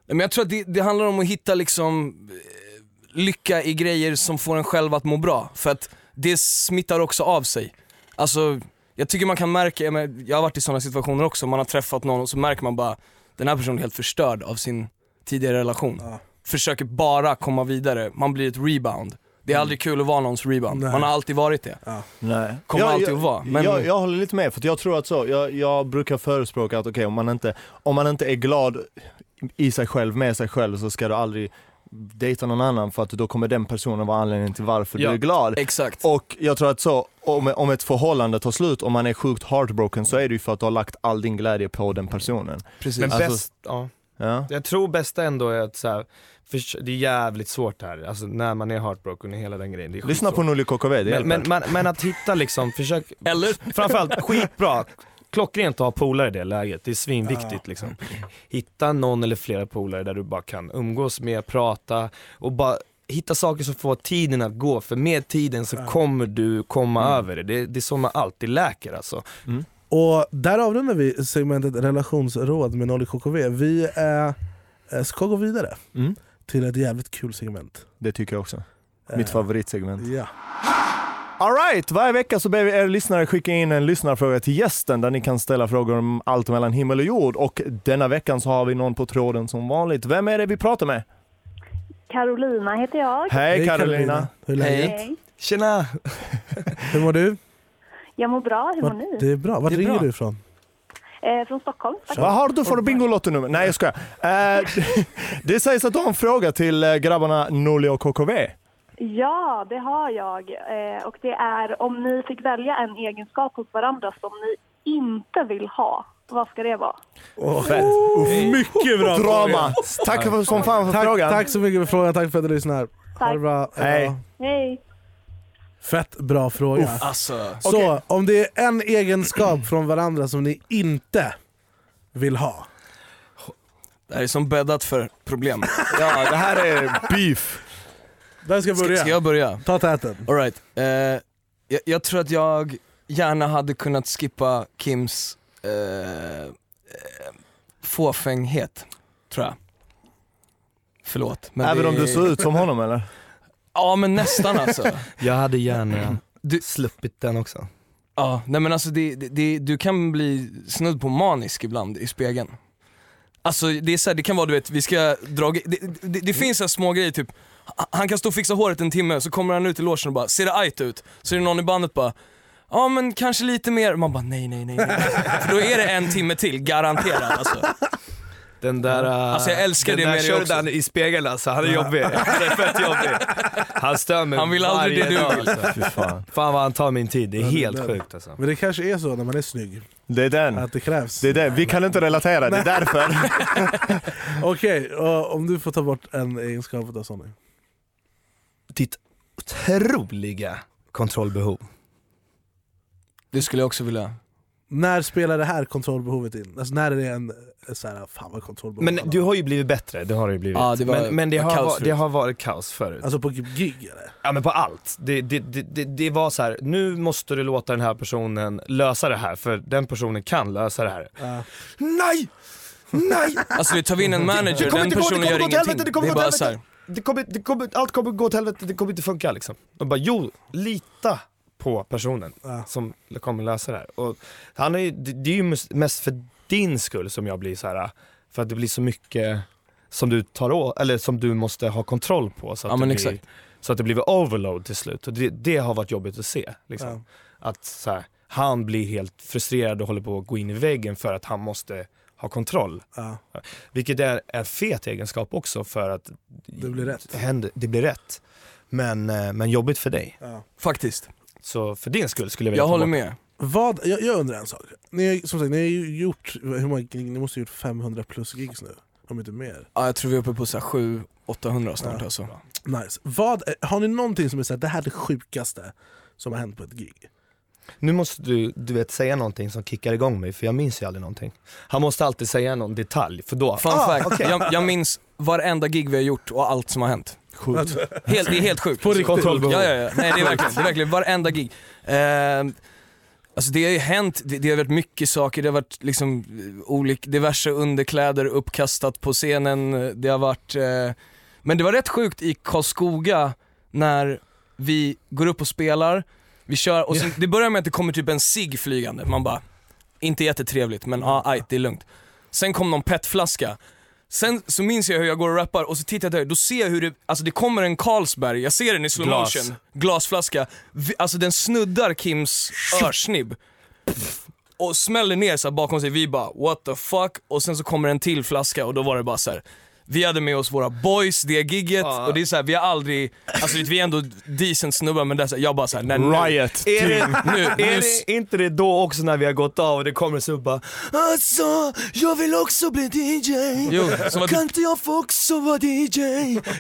S3: men jag tror att det, det handlar om att hitta liksom eh, lycka i grejer som får en själv att må bra. För att det smittar också av sig. Alltså, jag tycker man kan märka, jag, men, jag har varit i sådana situationer också, man har träffat någon och så märker man bara, den här personen är helt förstörd av sin tidigare relation.
S1: Ja.
S3: Försöker bara komma vidare, man blir ett rebound. Det är aldrig kul att vara någons rebound,
S1: Nej.
S3: man har alltid varit det.
S4: Nej.
S3: Kommer
S4: jag,
S3: alltid
S4: jag,
S3: att vara, men-
S4: jag, jag håller lite med, för att jag tror att så, jag, jag brukar förespråka att okej, om, man inte, om man inte är glad i sig själv, med sig själv, så ska du aldrig dejta någon annan för att då kommer den personen vara anledningen till varför
S2: Ja.
S4: du är glad.
S3: Exakt.
S4: Och jag tror att så, om, om ett förhållande tar slut och man är sjukt heartbroken så är det ju för att du har lagt all din glädje på den personen.
S3: Precis.
S2: Men
S4: Alltså-
S2: bäst, ja.
S4: Ja.
S2: Jag tror bästa ändå är att så här, förs- det är jävligt svårt här, alltså när man är heartbroken och hela den grejen. Det är
S4: Lyssna på
S2: skitsvårt.
S4: Norli KKV, det hjälper.
S2: men, men, men, men att hitta liksom, försök,
S3: Eller?
S2: framförallt skitbra, klockrent att ha polare i det läget, det är svinviktigt liksom. Hitta någon eller flera polare där du bara kan umgås med, prata och bara hitta saker som får tiden att gå, för med tiden så kommer du komma över det. det. Det är så man alltid läker alltså.
S1: Och där avrundar vi segmentet relationsråd med Nolly KKV. Vi eh, eh, ska gå vidare
S4: Mm.
S1: till ett jävligt kul segment.
S4: Det tycker jag också. Mitt
S1: Eh,
S4: favoritsegment.
S1: Ja.
S4: Alright, varje vecka så ber vi er lyssnare skicka in en lyssnarfråga till gästen där ni kan ställa frågor om allt mellan himmel och jord. Och denna veckan så har vi någon på tråden som vanligt. Vem är det vi pratar med?
S8: Carolina heter jag.
S4: Hej Carolina!
S1: Hur är läget?
S3: Hej.
S2: Tjena!
S1: Hur mår du?
S8: Jag mår bra, hur mår
S1: Vart,
S8: ni?
S1: det är bra. Vart
S3: Det är
S1: ringer
S3: bra.
S1: du ifrån?
S8: Eh, från Stockholm. tack.
S4: Vad har du för Bingolotto-nummer? Nej jag skojar. Eh, det sägs att du har en fråga till eh, grabbarna Nolly och KKV.
S8: Ja, det har jag. Eh, och det är om ni fick välja en egenskap hos varandra som ni inte vill ha, vad ska det vara?
S4: Fett! Uff,
S1: Mycket bra
S4: drama! Tack för, som fan för
S1: Tack,
S4: frågan.
S1: tack så mycket för frågan, tack för att du lyssnar. Ha
S8: Tack.
S1: det bra.
S4: Hej.
S1: Ja.
S8: Hej!
S1: Fett bra fråga.
S3: Uff, alltså.
S1: Så om det är en egenskap från varandra som ni inte vill ha.
S3: Det här är som bäddat för problem. Ja, det här är beef.
S1: Där ska jag börja.
S3: Ska, jag börja?
S1: Ta täten.
S3: All right. eh, jag, jag tror att jag gärna hade kunnat skippa Kims eh, eh, fåfänghet, tror jag. Förlåt. men
S4: Även
S3: det-
S4: om du såg ut som honom eller?
S3: Ja men nästan alltså.
S2: Jag hade gärna sluppit den också.
S3: Ja, nej men alltså det, det- det, du kan bli snudd på manisk ibland i spegeln. Alltså det är så här, det kan vara du vet, vi ska dra, det, det, det finns så här små grejer typ, ha- han kan stå och fixa håret en timme, så kommer han ut i logen och bara, ser det ajt ut? Så är det någon i bandet bara, ja men kanske lite mer, man bara nej nej nej. nej. För då är det en timme till, garanterat alltså.
S2: Den där... eh,
S3: Alltså, jag älskar
S2: den
S3: det
S2: där
S3: med dig
S2: kör
S3: också.
S2: Den i spegeln alltså, han är jobbig. Han är fett jobbig. Han stör mig
S3: Han vill aldrig
S2: varje
S3: det du
S2: dag,
S3: vill.
S2: Alltså. Fy fan. fan vad han tar min tid, det är
S1: Ja, det
S2: helt
S1: där.
S2: sjukt alltså.
S1: Men det kanske är så när man är snygg,
S4: Det är den.
S1: att det krävs.
S4: Mm. Det är det. Vi kan inte relatera, det är därför.
S1: Okej, och om du får ta bort en egenskap av Sonny.
S2: Ditt otroliga kontrollbehov.
S3: Det skulle jag också vilja.
S1: När spelar det här kontrollbehovet in? Alltså när är det en eh, så här, fan vad kontrollbehov
S2: Men
S1: alla-
S2: du har ju blivit bättre, det har du ju blivit.
S3: Ja, det var-
S2: men men det,
S3: var
S2: har,
S3: kaos
S2: va- det
S3: förut.
S2: har varit kaos förut.
S1: Alltså på gig eller?
S2: Ja men på allt. Det, det, det, det, det var så här. nu måste du låta den här personen lösa det här för den personen kan lösa det här.
S1: Ja.
S2: Nej! Nej!
S3: Alltså vi tar vi in en
S2: kommer
S3: manager, den
S2: inte gå, det
S3: personen
S2: kommer
S3: gör
S2: gå åt helvete,
S3: ingenting.
S2: det kommer
S3: Det är
S2: gå åt
S3: bara såhär,
S2: Det kommer, det kommer, allt kommer gå åt helvete, det kommer inte funka liksom. De bara jo, lita på personen
S1: Ja.
S2: som kommer lösa det här. Och han är, ju- det, det är ju mest- mest för din skull som jag blir så här. för att det blir så mycket som du tar å, eller som du måste ha kontroll på så att,
S3: Ja, men
S2: det, blir,
S3: exakt.
S2: så att det blir overload till slut. Och det, det har varit jobbigt att se. Liksom.
S1: Ja.
S2: Att så här, han blir helt frustrerad och håller på att gå in i väggen för att han måste ha kontroll.
S1: Ja.
S2: Vilket är en fet egenskap också för att
S1: Det blir rätt.
S2: det händer- det blir rätt. Men, eh, men jobbigt för dig.
S3: faktiskt.
S2: Så för din skull skulle jag vilja
S3: Jag
S2: ta
S3: håller
S2: bort-
S3: med.
S1: Vad, jag, jag undrar en sak. Ni har, som sagt, ni har ju gjort, hur många, gig? ni måste ha gjort 500 plus gigs nu. Om inte mer.
S3: Ja, jag tror vi är uppe på såhär 700-800 snart
S1: Ja.
S3: alltså.
S1: Nice. Vad, eh, har ni någonting som är såhär, det här är det sjukaste som har hänt på ett gig?
S2: Nu måste du, du vet, säga någonting som kickar igång mig för jag minns ju aldrig någonting. Han måste alltid säga någon detalj för då... Ah,
S3: Fun fact, jag, jag minns varenda gig vi har gjort och allt som har hänt.
S1: Sjukt.
S3: Helt, det är helt sjukt.
S2: På riktigt. Kontrollbehov.
S3: Ja, ja, ja. Nej, det är verkligen, det är verkligen varenda gig. Ehm, alltså det har ju hänt, det, det har varit mycket saker, det har varit liksom eh, olika, diverse underkläder uppkastat på scenen, eh, det har varit... Eh, men det var rätt sjukt i Karlskoga när vi går upp och spelar, vi kör och sen, det börjar med att det kommer typ en cigg flygande, man bara, inte jättetrevligt men ja, ah, aj, det är lugnt. Sen kom någon petflaska. Sen så minns jag hur jag går och rappar och så tittar jag till höger, då ser jag hur det, alltså det kommer en Carlsberg, jag ser den i slow
S2: Glas.
S3: motion, glasflaska, vi, alltså den snuddar Kims örsnibb. Och smäller ner så här bakom sig, vi bara what the fuck, och sen så kommer en till flaska och då var det bara så här. Vi hade med oss våra boys det gigget och det är så här, vi har aldrig, alltså vi är ändå decent snubbar men det är så här, jag bara såhär, nej nu,
S4: Riot.
S2: Är, det,
S3: nu,
S2: är
S3: nu,
S2: det inte det då också när vi har gått av och det kommer en snubbe bara Alltså, jag vill också bli DJ.
S3: Jo, som att-
S2: kan inte jag få också vara DJ?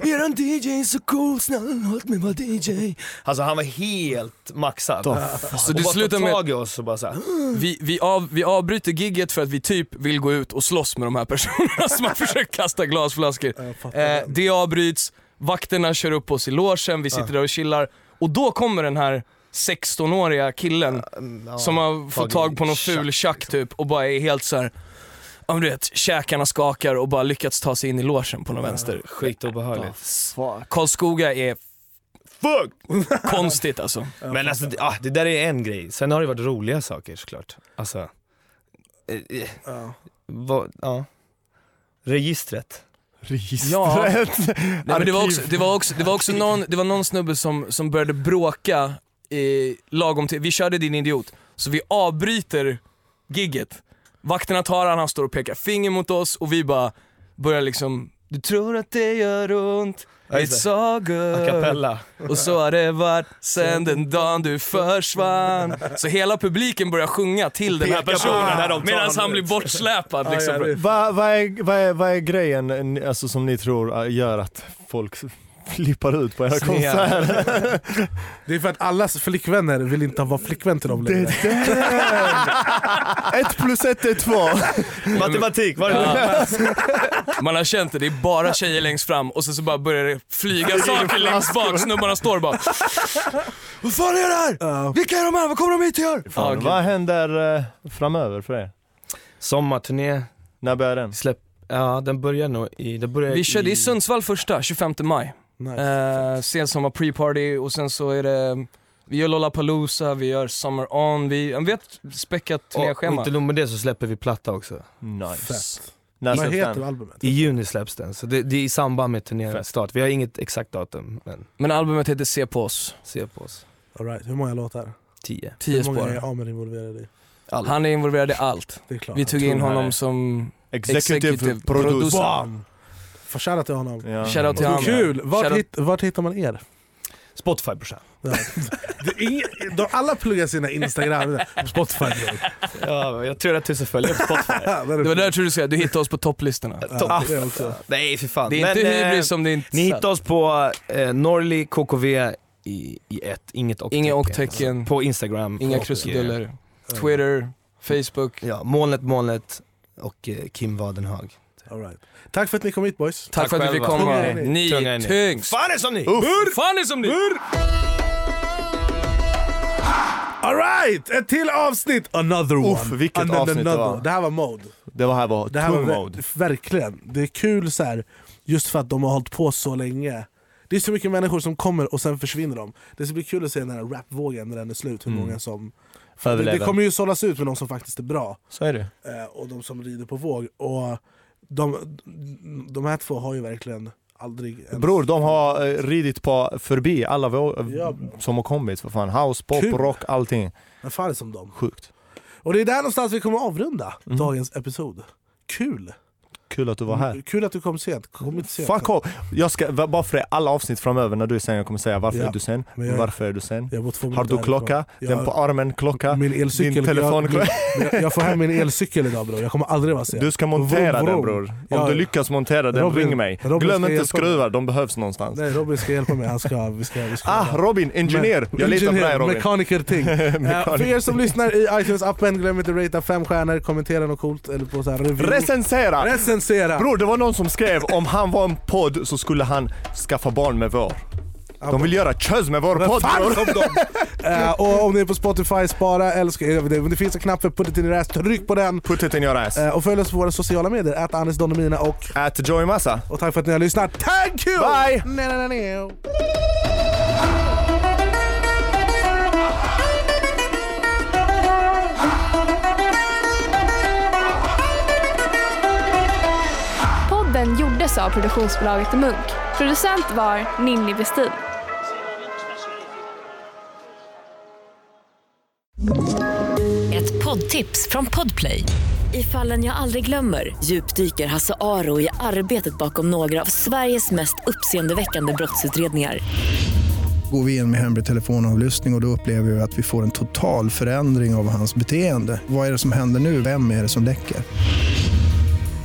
S2: Eran DJ är så cool, snälla låt mig vara DJ. Alltså han var helt maxad.
S3: Så
S2: Så
S3: det
S2: du
S3: slutar
S2: slutar
S3: med-
S2: med... tag i oss och bara såhär,
S3: vi, vi, av, vi avbryter gigget för att vi typ vill gå ut och slåss med de här personerna som har försökt kasta glasflaskor.
S1: Jag fattar
S3: Eh,
S1: det.
S3: det avbryts, vakterna kör upp oss i logen, vi sitter där och chillar och då kommer den här 16-åriga killen
S2: "Mm,
S3: som har fått tag på någon ful
S2: liksom.
S3: tjack typ och bara är helt såhär, ja men du vet, käkarna skakar och bara lyckats ta sig in i logen på någon vänster.
S2: Skitobehagligt.
S3: Karlskoga är
S2: Fuck!
S3: konstigt alltså.
S2: Men alltså, det, ah, det där är en grej. Sen har det varit roliga saker såklart. Alltså, eh, eh,
S1: Ja.
S2: vad, ja. Registret.
S4: Registret. Nej,
S3: Nej, men det, var också, det, var också, det var också någon, det var någon snubbe som, som började bråka i, lagom till, vi körde din idiot, så vi avbryter gigget. Vakterna tar han, han står och pekar finger mot oss och vi bara börjar liksom Du tror att det gör ont,
S2: Ja,
S3: it's
S2: just det.
S3: so
S2: A
S3: good
S2: cappella.
S3: Och så har det varit sen den dagen du försvann Så hela publiken börjar sjunga till den här
S2: Peka på den här de
S3: personen
S2: tar
S3: medan han
S2: nu.
S3: blir bortsläpad liksom.
S1: ja, det är
S4: Vad vad är, vad är, vad är grejen eh, ni- alltså, som ni tror eh, gör äh, att folk flippar ut på era konserter.
S1: Det är för att allas flickvänner vill inte vara flickvän till dem längre.
S4: ett plus ett är två. Matematik, var det
S3: Man har känt det, det är bara tjejer längst fram och sen så bara börjar det flyga saker längst bak, snubbarna står bara Vad fan är det här? Vilka är de här? Vad kommer de hit och gör?
S4: Fan,
S3: Ja,
S4: Vad händer eh, framöver för er?
S2: Sommarturné.
S4: När börjar den?
S2: Släpp. Ja, den börjar nog i... Den börjar
S3: Vi körde i
S2: i
S3: Sundsvall första, 25 maj.
S1: Nice.
S3: Eh, sensommar pre-party och sen så är det, vi gör Lollapalooza, vi gör Summer On, vi, ja, vi har ett späckat
S2: Och, och
S3: turnéschema.
S2: inte nog med det så släpper vi platta också.
S4: Nice.
S1: Fett.
S4: När
S1: Vad
S4: släpps
S1: heter
S4: den?
S1: albumet?
S2: I juni släpps den, så det, det är i samband med turnéns
S4: Fett.
S2: start. Vi har inget exakt datum, men
S3: Men albumet heter Se på oss,
S2: se på oss.
S1: All right. Hur många låtar?
S2: 10.
S3: 10
S1: Hur många
S3: spår.
S1: är Amer involverad i?
S3: Han är involverad i allt.
S1: Det är klart.
S3: Vi tog in honom som Executive
S4: Executive producer.
S3: producer.
S1: Bam! Får shoutout till honom.
S4: Ja.
S3: Shoutout till
S1: Vad
S3: han.
S1: Kul! Vart,
S3: Shoutout-
S1: hitt, vart hittar man er?
S2: Spotify brorsan.
S1: Ja. Det är ingen, de alla pluggar sina Instagram. Spotify.
S2: Ja, jag har 300 000 följare på Spotify.
S1: Ja, där är
S3: Det var där jag trodde du skulle säga, du hittade oss på topplistorna.
S1: Ja, det är också.
S2: Nej för fan.
S3: Det är inte
S2: Men, eh,
S3: hybris om det är inte
S2: Ni hittar oss på eh, Norli KKV i, i ett, inget och
S3: Inga och
S2: tecken.
S3: tecken,
S2: På Instagram.
S3: inga
S2: och, eh,
S3: krusiduller, Twitter, Facebook.
S2: Ja, molnet, molnet och eh, Kim Wadenhag.
S1: All right. Tack för att ni kom hit boys.
S3: Tack, för att vi fick
S2: själva.
S3: komma.
S1: Tunga är ni.
S3: Ni
S2: Tunga är
S3: är
S2: ni.
S3: tyngst.
S2: Fan är som ni!
S3: Fan är som ni!
S1: All right! Ett till avsnitt! Another one.
S4: Uff, vilket
S1: And then
S4: avsnitt det
S1: another.
S4: var.
S1: Det här var mode.
S4: Det var här var
S1: Det här var
S4: tung mode.
S1: ver- verkligen. Det är kul så här, just för att de har hållit på så länge. Det är så mycket människor som kommer och sen försvinner de. Det ska bli kul att se den här rapvågen när den är slut. Hur
S4: Mm.
S1: många som... För det, det
S4: Överlever.
S1: kommer ju sållas ut med de som faktiskt är bra.
S4: Så är det.
S1: eh, och de som rider på våg. Och de, de här två har ju verkligen aldrig... ens-
S4: Bror, de har eh, ridit på förbi alla vå-
S1: Ja.
S4: som har kommit. För fan. House, pop,
S1: Kul.
S4: rock, allting.
S1: Vad fan är som dem?
S4: Sjukt.
S1: Och det är där någonstans vi kommer avrunda dagens episod. Kul!
S4: Kul att du Mhm. var här.
S1: Kul att du kom sent. Kom inte sent.
S4: Fuck off! Jag ska, va- bara för det, alla avsnitt framöver när du är sen, jag kommer säga varför
S1: Ja.
S4: är du sen?
S1: Men jag-
S4: Varför är du sen?
S1: Jag bor två
S4: Har du
S1: minuter
S4: klocka?
S1: härifrån. Jag-
S4: Den på armen, klocka?
S1: Min elcykel.
S4: Din telefon?
S1: jag, min- jag, jag får hem min elcykel idag bror. Jag kommer aldrig vara sen.
S4: Du ska montera
S1: Vroom,
S4: den
S1: vroom.
S4: bror. Om
S1: Ja,
S4: du
S1: ja.
S4: lyckas montera den,
S1: Robin-
S4: ring mig.
S1: Robin
S4: Glöm
S1: ska
S4: inte
S1: hjälpa mig.
S4: skruvar, de behövs någonstans.
S1: Nej, Robin ska hjälpa mig. Han ska, vi ska, vi ska
S4: Ah, Robin! Ingenjör! Jag litar på dig
S1: Ingenjör,
S4: Robin.
S1: Mekaniker ting. Eh, För er som lyssnar i iTunes-appen, glöm inte att ratea fem stjärnor, kommentera något coolt eller på så här review.
S4: Recensera!
S1: Recensera!
S4: Bror, det var någon som skrev om han var en podd så skulle han skaffa barn med vår. De vill göra kös med vår podd
S1: fan
S4: bror.
S1: kom de? Eh, och om ni är på Spotify, spara, älska, eh, det, det finns en knapp för Put it in your ass, tryck på den.
S4: Put it in your ass.
S1: Eh, och följ oss på våra sociala medier, att Anis Don och Mina och,
S4: At Joey Massa.
S1: och tack för att ni har lyssnat. Thank you!
S4: Bye!
S1: Nej, nej, nej, nej.
S5: Podden gjordes av produktionsbolaget Munk. Producent var Ninni Westin.
S7: Ett poddtips från Podplay. I fallen jag aldrig glömmer djupdyker Hasse Aro i arbetet bakom några av Sveriges mest uppseendeväckande brottsutredningar.
S9: Går vi in med hemlig telefonavlyssning och, och då upplever vi att vi får en total förändring av hans beteende. Vad är det som händer nu? Vem är det som läcker?